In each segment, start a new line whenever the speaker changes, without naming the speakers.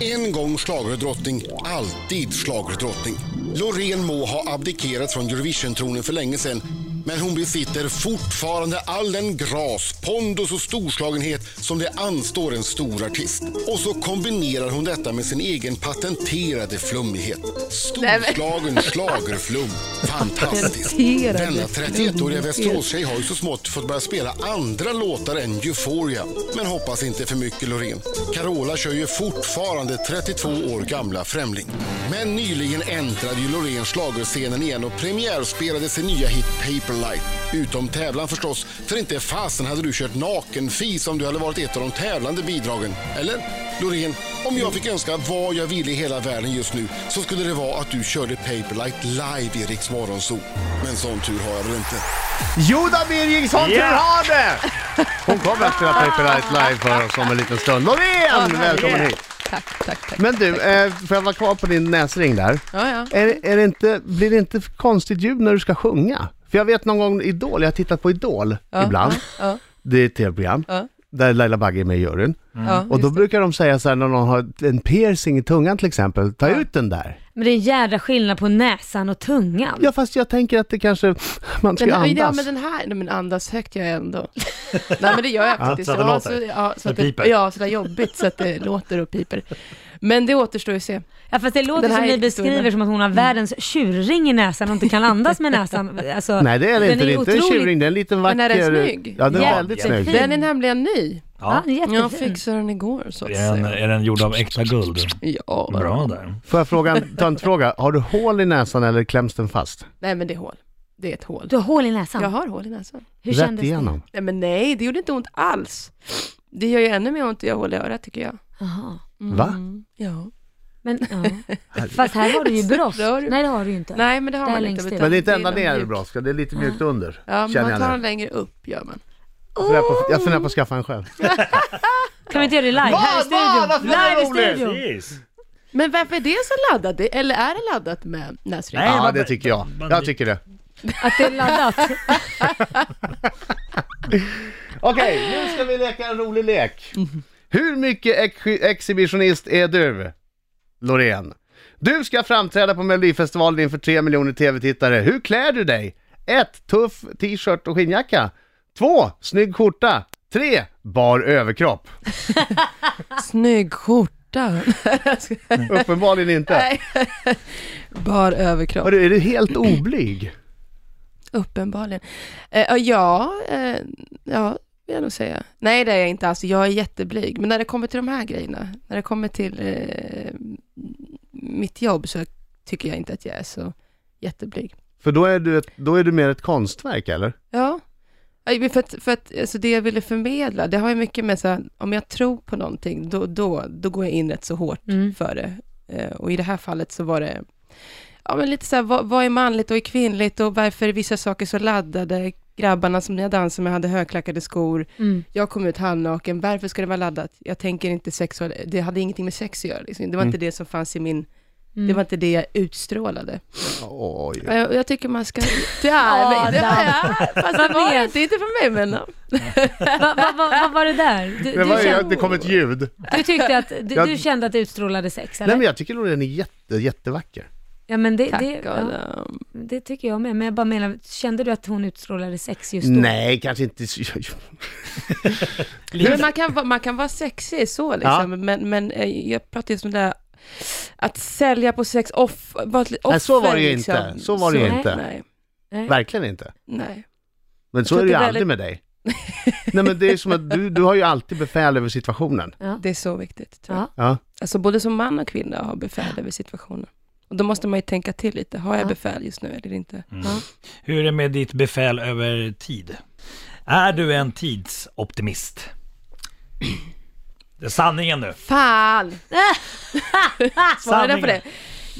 En gång schlagerdrottning, alltid schlagerdrottning. Loreen må ha abdikerat från Eurovision-tronen för länge sedan men hon besitter fortfarande all den gras, pondus och storslagenhet som det anstår en stor artist. Och så kombinerar hon detta med sin egen patenterade flummighet. Storslagen schlagerflum. Fantastiskt.
Patenterade
Denna 31-åriga
flummighet.
Västeråstjej har ju så smått fått börja spela andra låtar än Euphoria. Men hoppas inte för mycket Loreen. Carola kör ju fortfarande 32 år gamla Främling. Men nyligen äntrade ju Loreen schlagerscenen igen och premiärspelade sin nya hit Paperlight. Utom tävlan förstås, för inte fasen hade du kört nakenfis om du hade varit ett av de tävlande bidragen. Eller? Loreen, om jag fick önska vad jag ville i hela världen just nu så skulle det vara att du körde Paperlight live i Riks Morgonzoo. Men sån tur har jag väl inte.
Joda Birging, sånt
Ja.
yeah. har det! Hon kommer att spela Paperlight live för oss om en liten stund. Loreen, välkommen
ja.
hit!
Tack, tack, tack.
Men du, eh, får jag vara kvar på din näsring där?
Ja, ja.
Är, är det inte, blir det inte konstigt ljud när du ska sjunga? För jag vet någon gång Idol, jag har tittat på Idol ibland.
ja.
Det är ett tv-program.
Ja. Mm.
Där Laila Bagge är med i juryn.
Ja,
Och
just
då
det.
brukar de säga så här när någon har en piercing i tungan till exempel, ta ut den där.
Men det är en jädra skillnad på näsan och tungan.
Ja fast jag tänker att det kanske, man ska
Den här,
andas.
ja, men den här, nej, men andas högt gör jag ändå. nej men det gör jag faktiskt.
så att det
ja,
låter.
Så, ja, så
Det
att det,
piper.
ja, så där jobbigt så att det låter och piper. Men det återstår ju att se.
Ja, fast det låter
Den här
som ni
är Mm.
beskriver
historien.
som att hon har världens tjurring i näsan och inte kan andas med näsan. Alltså,
Nej det är det
den
inte, det är inte en
otroligt-
tjuring, det är en liten vacker...
Men är den snygg?
Ja den är
Ja,
väldigt
jättefin.
snygg.
Den är nämligen ny.
Ja,
Ja.
den är
Jag
jättefin.
fixade den igår så att
Är Mm. den,
säga.
är den gjord av äkta guld?
Ja.
Bra där.
Får jag fråga en tantfråga, har du hål i näsan eller kläms den fast?
Nej men det är hål. Det är ett hål.
Du har hål i näsan.
Jag har hål i näsan.
Hur
Rätt
kändes det?
igenom?
Nej men nej, det gjorde inte ont alls. Det gör ju ännu mer ont att jag hål i örat tycker jag.
Jaha.
Va?
Mm. Ja.
Men, ja. Fast här har du ju bröst.
Rör du-
Nej, det har du ju inte.
Nej men det har
Där
man
längst
inte.
ut.
utan
Men det är inte ända
någon
ner
mjuk-
brådskan, det är lite mjukt under,
Ja, men
känner
man
jag
tar
nu.
den längre upp gör man.
Jag funderar på- Jag funderar på att skaffa en själv.
Kan vi inte göra det live? Här i
vad
studion.
fan vad
Live i
roligt!
studion.
Men varför är det så laddat? Det- Eller är det laddat med näsring?
Nej,
Ja
vad-
det tycker jag,
vad-
jag tycker det.
Att det är laddat.
Okej, nu ska vi leka en rolig lek. Hur mycket ex- exhibitionist är du, Loreen? Du ska framträda på Melodifestivalen inför 3 miljoner tv-tittare. Hur klär du dig? 1. Tuff t-shirt och skinnjacka. 2. Snygg skjorta. 3. Bar överkropp.
Snygg skjorta.
Uppenbarligen inte.
Nej. Bar överkropp.
Hörru, är du helt oblyg?
Uppenbarligen. Eh, ja, eh, ja, vill jag nog säga. Nej, det är jag inte alls. Jag är jätteblyg. Men när det kommer till de här grejerna, när det kommer till eh, mitt jobb så tycker jag inte att jag är så jätteblyg.
För då är du, ett, då är du mer ett konstverk eller?
Ja, Ja, men för att, för att alltså det jag ville förmedla, det har ju mycket med så här, om jag tror på någonting, då, då, då går jag in rätt så hårt
Mm.
för det. Eh, och i det här fallet så var det, ja men lite så här, vad, vad är manligt och är kvinnligt och varför är vissa saker så laddade? Grabbarna som jag dansade med hade högklackade skor,
Mm.
jag kom ut halvnaken, varför ska det vara laddat? Jag tänker inte sexuellt, det hade ingenting med sex att göra, liksom. det
Mm.
var inte det som fanns i min, det var inte det jag utstrålade.
Oj.
Ja, Jag, jag tycker man ska... Det är, det, det, ja, fast det var det inte, inte för mig men... ja.
Vad va, va, vad var det där? Du,
Det,
du,
var, ju-
kände,
det kom ett ljud.
du tyckte att du,
Jag-
du kände att det utstrålade sex,
Nej
eller?
men jag tycker Loreen är jätte, jättevacker.
Ja, men det,
Tack
det, ja,
Adam.
det tycker jag med. Men jag bara menar, kände du att hon utstrålade sex just då?
Nej, kanske inte.
Men man, kan, vara- man kan vara sexig så liksom, men, men eh, jag pratar just om det där att sälja på sex, off, vara ett offer
Nej, så var det ju
liksom.
inte. Så var det ju
Så-
inte.
Nej,
Nej.
Verkligen inte.
nej.
Men så
Jag
är det ju
tyckte
aldrig med dig. Nej men det är som att du, du har ju alltid befäl över situationen.
Det är så viktigt. Tror jag.
Ja.
Ja.
Alltså både som man och kvinna har befäl över situationen. Och då måste man ju tänka till lite, har jag
Ja.
befäl just nu eller inte?
Mm.
Hur är det med ditt befäl över tid? Är du en tidsoptimist? Det är sanningen nu.
Fan! Svarade jag på
Sanningen.
det?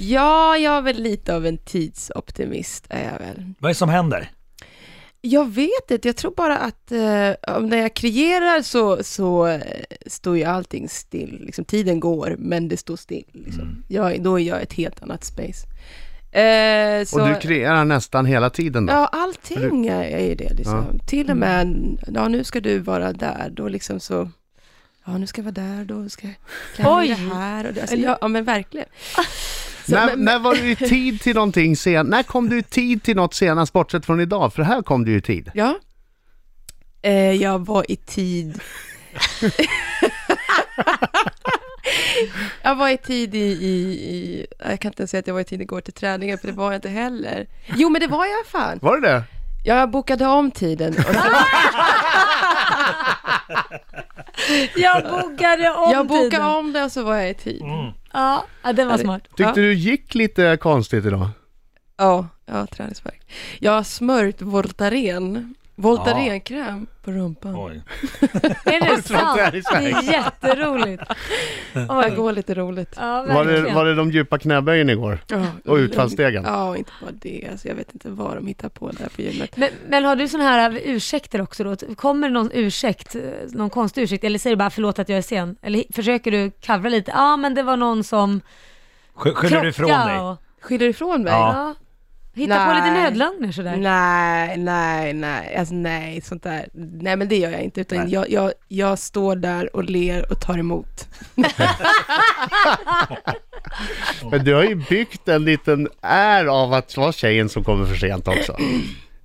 Ja, jag är väl lite av en tidsoptimist är jag väl.
Vad är det som händer?
Jag vet inte, jag tror bara att eh, när jag kreerar så, så eh, står ju allting still. Liksom, tiden går, men det står still. Liksom.
Mm.
Jag, då är jag ett helt annat space. Eh, så,
Och du kreerar nästan hela tiden då.
Ja, allting
Mm.
är är ju det. Liksom. Till och med, ja, nu ska du vara där. Då liksom så, ja nu ska jag vara där, då ska jag klä mig i det
Oj.
här. Och det. Alltså, ja, ja, men verkligen. Så,
när,
men,
när var du i tid till någonting sen? När kom du i tid till något senast bortsett från idag? För här kom du ju i tid.
ja. Eh, jag var i tid. jag var i tid i, i, i, jag kan inte ens säga att jag var i tid igår till träningen, för det var jag inte heller. Jo, men det var jag fan.
Var det det?
Ja, jag bokade om tiden. Och så,
Jag bokade om
jag bokade
tiden.
om det och så var jag i tid.
Ja, ja, den var smart.
Mm. Tyckte
Ja.
du gick lite konstigt idag?
Ja, ja träningsvärk. Jag har smörjt Voltaren, Voltarenkräm på rumpan.
Oj.
Är det
tror inte
sant?
det här är
Det är
Sverige.
jätteroligt.
Det går lite roligt.
Ja,
Var det,
verkligen.
var det de djupa knäböjen igår?
Ja,
Och utfallsstegen?
Ja, och inte bara det. Alltså, jag vet inte vad de hittar på där på gymmet.
Men, men har du sådana här ursäkter också då? Kommer det någon ursäkt, eh, någon konstig ursäkt? Eller säger du bara förlåt att jag är sen? Eller hi- försöker du kavra lite? Ja, men det var någon som
Sk- Skyller du ifrån dig?
och-
Skiljer ifrån mig?
Ja.
Ja. Hitta på lite
Nej.
nödlögner sådär.
Nej, nej, nej. Alltså nej, sånt där. Nej, men det gör jag inte. Utan
Nej.
jag, jag, jag står där och ler och tar emot.
Men du har ju byggt en liten är av att vara tjejen som kommer för sent också.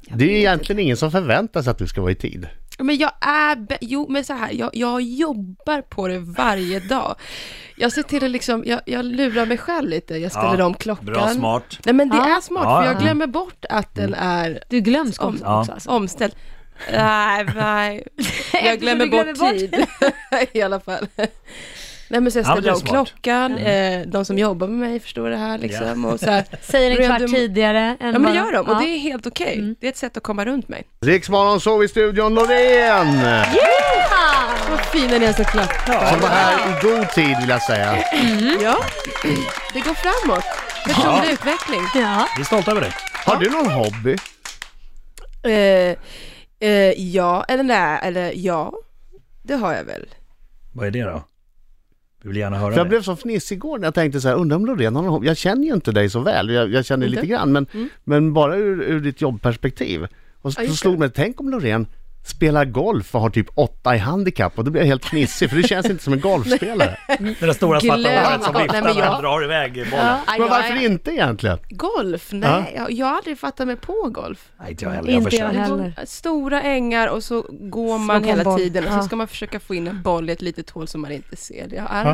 Det är ju egentligen ingen som förväntar sig att du ska vara i tid.
Men jag är, bä- jo men så här, jag, jag jobbar på det varje dag. Jag ser till att liksom, jag, jag lurar mig själv lite, jag ställer
Ja,
om klockan.
Bra, smart.
Nej men det
Ja.
är smart, för
Ja, ja. Mm.
jag glömmer bort att den är
Du är glömsk
om,
också.
Ja.
alltså.
omställd. Nej, nej. Jag glömmer
du
bort
glömmer bort.
tid i alla fall. Nej men så jag
Ja,
ställer
men det är
om
smart.
klockan, eh, de som jobbar med mig förstår det här liksom. Och så här.
Säger en
Röd
kvart
dum-
tidigare. Än
Ja men
bara-
det gör de,
Ja. Mm.
och det är helt okej. Det är ett sätt att komma runt mig.
Riksmorgon sov i studion Loreen!
Vad fina ni är såklart.
Som var här i god tid vill jag säga.
Ja, Mm. det går framåt. Personlig utveckling.
Ja.
Vi är stolta över dig.
Har du någon hobby?
Eh, eh, ja, eller nej, eller ja. Det har jag väl.
Vad är det då? Vi vill gärna höra
För jag
det.
blev så fnissig igår när jag tänkte så här, undrar om Loreen har någon hobby? Jag känner ju inte dig så väl, jag, jag känner
Inte? Mm.
lite grann, men, men bara ur, ur ditt jobbperspektiv. Och så,
Ja, just
så slog
det.
mig, tänk om Loreen spelar golf och har typ åtta i handikapp och då blir jag helt fnissig för det känns inte som en golfspelare.
Den där stora svarta
Glöm.
bollen som
Ja,
viftar
nej, men
när han
jag-
drar iväg bollen.
Aj,
Men
jag
varför
är-
inte egentligen?
Golf? Nej, jag, jag har aldrig fattat mig på golf.
Nej, inte jag heller. Jag
Inte jag
försöker.
heller.
Stora ängar och så går man
Slå på en
hela
boll.
tiden och så
Ja.
ska man försöka få in en boll i ett litet hål som man inte ser. Jag är,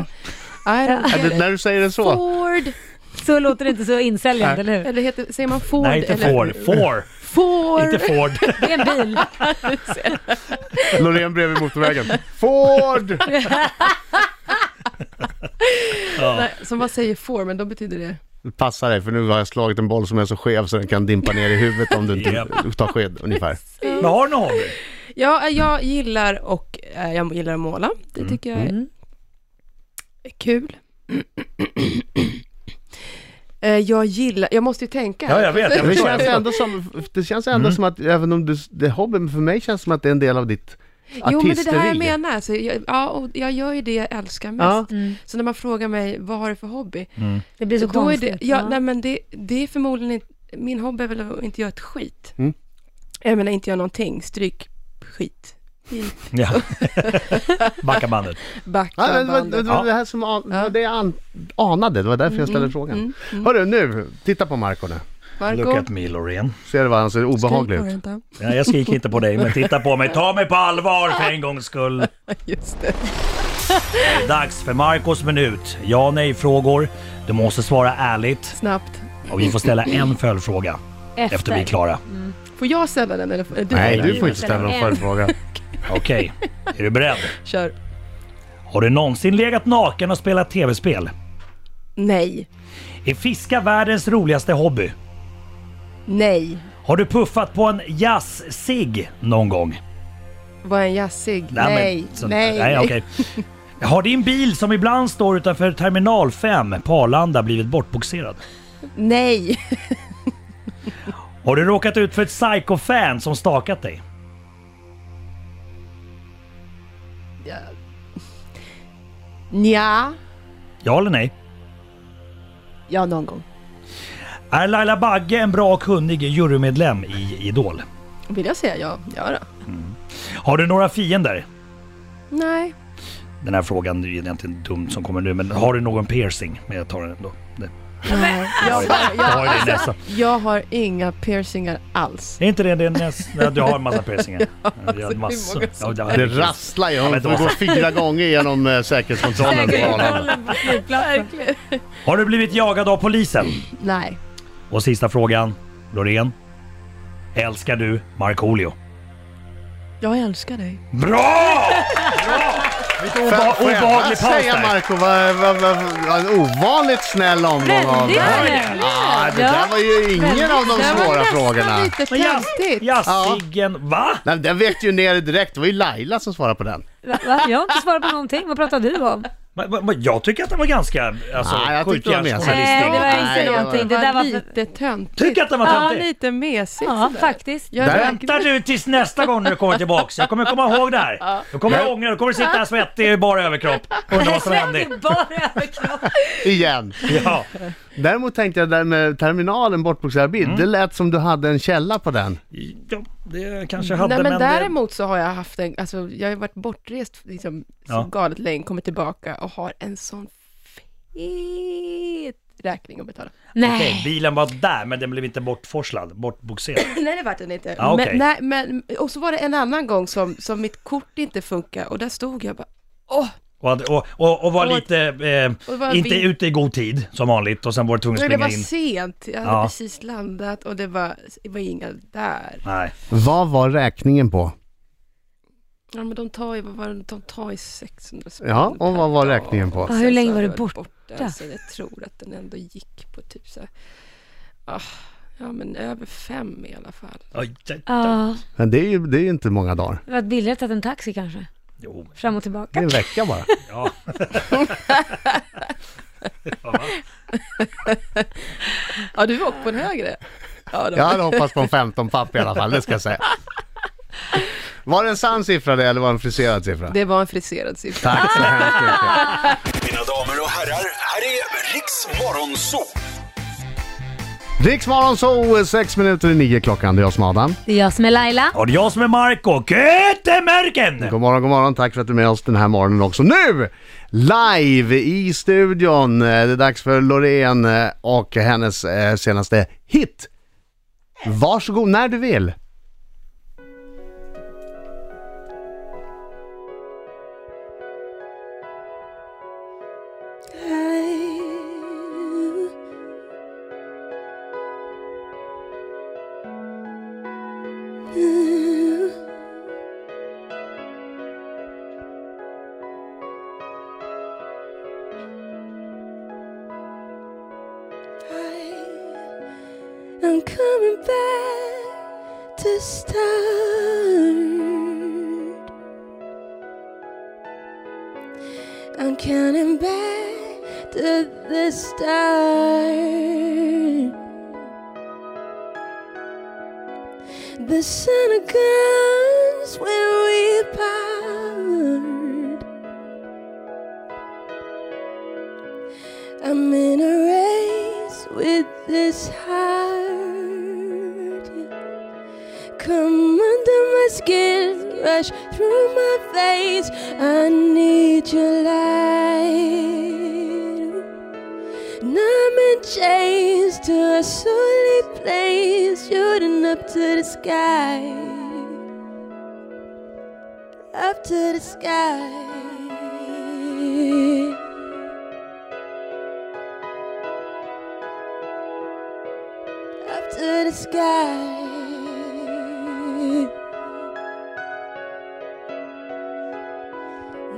är
Ja, det- När du säger det så.
Ford,
Så låter det inte så insäljande, eller hur?
eller heter, säger man Ford?
Nej, inte
eller?
Ford. Får.
Ford!
Inte Ford.
Det är en bil.
Loreen bredvid motorvägen. Ford!
Nej, som man säger Ford, men då betyder det...
Passa dig för nu har jag slagit en boll som är så skev så den kan dimpa ner i huvudet om du inte
Japp.
tar skydd ungefär.
Men har du någon hobby?
Ja, jag gillar och eh, jag gillar att måla.
Mm.
Det tycker jag är kul. Eh, jag gillar, jag måste ju tänka.
Ja, jag vet. Jag
Det
förstår. Mm. Jag
känns
förstår.
ändå som, det känns ändå som att även om du, det är hobby, för mig känns det som att det är en del av ditt artisteri.
Jo, men det är det här jag menar. Så jag, ja, och jag gör ju det jag älskar mest.
Ja.
Så när man frågar mig, vad har du för hobby?
Mm. Det blir så
Då är
konstigt.
det, ja, nej, men det, det är förmodligen inte, min hobby är väl att inte göra ett skit.
Mm.
Jag menar inte göra någonting, stryk skit.
Mm.
Ja. Backa bandet.
Backa
Ja, men det, var,
bandet.
det, var det här som an, det var det jag an, anade, det var
Mm,
därför jag ställde frågan. Hörru nu, titta på Marco nu.
Look
Marco,
at me, Loreen.
Ser du vad han ser obehaglig
skriv på
ut?
den då.
Ja, jag skriker inte på dig, men titta på mig. Ta mig på allvar för en gångs skull.
Just det.
Det är dags för Marcos minut. Ja nej-frågor. Du måste svara ärligt.
Snabbt.
Och vi får ställa en följdfråga efter vi är klara.
Får jag ställa den eller? får- Du,
Nej,
får
du
den.
får inte ställa någon
En.
följdfråga.
Okej, är du beredd?
Kör.
Har du någonsin legat naken och spelat tv-spel?
Nej.
Är fiska världens roligaste hobby?
Nej.
Har du puffat på en jazz-cigg någon gång?
Var en jazzig? Nej.
men
Nej.
sånt-
nej.
nej okej. Har din bil som ibland står utanför terminal 5 på Arlanda blivit bortboxerad?
nej.
Har du råkat ut för ett psycho-fan som stakat dig?
Nja.
Ja eller nej?
Ja, någon gång.
Är Laila Bagge en bra och kunnig jurymedlem i Idol?
Vill jag säga ja? Ja då.
Har du några fiender?
Nej.
Den här frågan är ju egentligen dum som kommer nu, men har du någon piercing? Men jag tar den ändå. Det,
Nej, jag,
jag,
har,
jag har
jag,
ju det i näsan.
jag har inga piercingar alls.
Är inte det din näs... Nej, du har en massa piercingar. Du har
hur
massor.
många
Ja,
som-
det har
Det
jag.
rasslar ju. Hon
men
får
då-
gå fyra gånger genom eh, säkerhetskontrollen på Arlanda.
Säkerhetskontrollen på flygplatsen.
Har du blivit jagad av polisen?
Nej.
Och sista frågan, Loreen. Älskar du Markoolio?
Jag älskar dig.
Bra! Bra! Lite obeha-
Får jag
obehaglig
bara
paus
säga
där.
Marco, vad, vad, vad, vad en ovanligt snäll omgång av
Väldigt
dig.
snäll.
Ah, det
Ja.
där var ju ingen av de
Det var
svåra
nästan
frågorna.
lite
Men jas-
klantigt.
Jassigen, va?
Nej, den vekte ju ner direkt. Det var ju Laila som svarade på den.
Va? Va? Jag har inte svarat på någonting. Vad pratar du om?
Men- men- men Jag tycker att den var ganska alltså,
Nej, jag tyckte det var mesigt.
skjutjärnsjournalistik.
Nej, det var inte
Nej, det var-
någonting.
Det
Det där var för...
lite töntigt.
Tycker att den var
Ja,
töntig?
lite mesigt.
Ja,
sådär.
faktiskt.
Jag
Där-
är
Vänta du tills nästa gång du kommer tillbaks. Jag kommer komma ihåg det här. Du kommer
Ja.
jag ångra, du kommer sitta här svettig i bara överkropp. Undra vad som hände.
Sven, bara överkropp.
Igen.
Ja.
Däremot tänkte jag det där med terminalen bortbokserad bil. Det lät som du hade en källa på den.
ja, det kanske jag hade
Nej men
men det-
däremot så har jag haft en, alltså jag har ju varit bortrest liksom
Ja.
så galet länge, kommit tillbaka och har en sån fet räkning att betala.
Okej,
Nej.
bilen var där men den blev inte bortforslad, bortbogserad.
Nej det var den inte.
Ja, okej.
men, nej, men, och så var det en annan gång som, som mitt kort inte funkar och där stod jag bara, åh!
Och, hade- och, och, och var
Och-
lite,
och det
eh,
var en
inte
vind.
ute i god tid som vanligt och sen var det tvungen att
Nej, det
springa
var
in.
sent, jag hade
Ja.
precis landat och det var, det var inga där.
Nej.
Vad var räkningen på?
Ja men de tar ju, vad var det, de tar ju 600 spänn
Ja, och
per
vad var
dag.
räkningen på?
Ja, hur
Sen så
länge
har
var
jag
du
varit
borta?
Så jag tror att den ändå gick på typ så här, ah, ja men över fem i alla fall.
Oj, oj, oj.
Ja,
Men det är ju det är ju inte många dagar.
det var billigare att ta en taxi kanske.
Jo,
Fram
Det är
och tillbaka.
en vecka bara.
ja.
Ja du var på en högre. Ja, de,
Jag hade hoppats på en 15 papp i alla fall, det ska jag säga. Var det en sann siffra det, eller var det en friserad siffra?
Det var en friserad siffra.
Tack så hemskt mycket.
Mina damer och herrar, här är Riks Morgonzoo!
Riksmorgon så sex minuter i nio klockan. Det är jag som är Adam.
Det är jag som är Laila.
Och det är jag som är Marco Götemärken!
God morgon, god morgon. Tack för att du är med oss den här morgonen också. Nu! Live i studion. Eh, Det är dags för Loreen eh, och hennes eh, senaste hit. Varsågod när du vill.
I'm coming back to start. I'm counting back to the start. The sun of guns when we part. I'm in a race with this heart. Come under my skin, rush through my veins. I need your light. And I'm in chains to a solid place, shooting up to the sky. Up to the sky. up to the sky.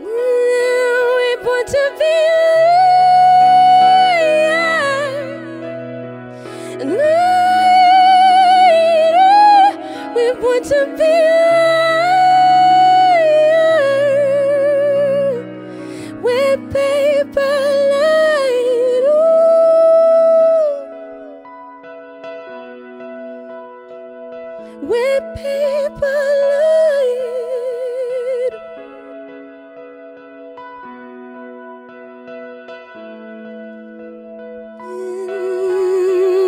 Now we want to be alive. Later, we want to be alive. We're paper light. Ooh. where people lied.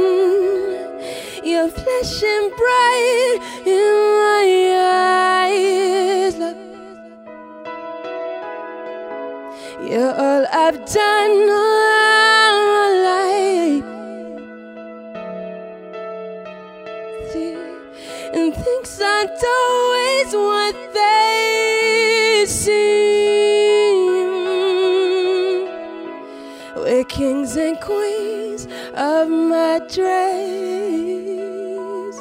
Mm, You're flashing bright in my eyes. Love. I've done all my life. And things aren't always what they seem. We're kings and queens of my dreams.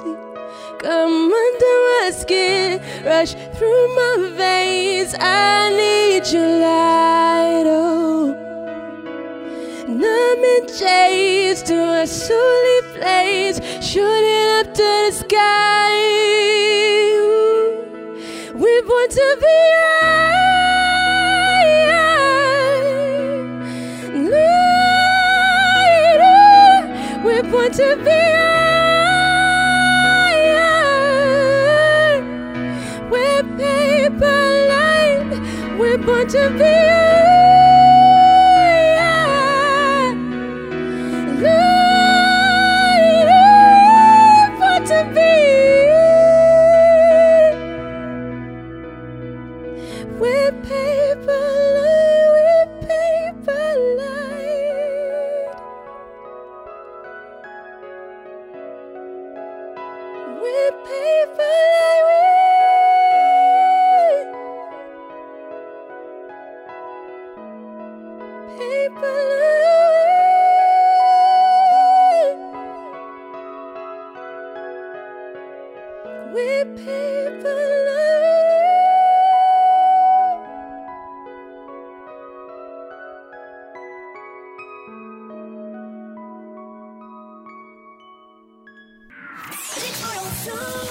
Come under my skin, rush through my veins. I need your light, oh. And I'm in chains to a solely place, shooting up to the sky. Ooh, We're born to be high. Lighter, we're born to be high. We're paper light. We're born to be light. We're born to be. We're paper light. We're paper light. We pay for light. We pay for light. We pay for light.
Digital soul.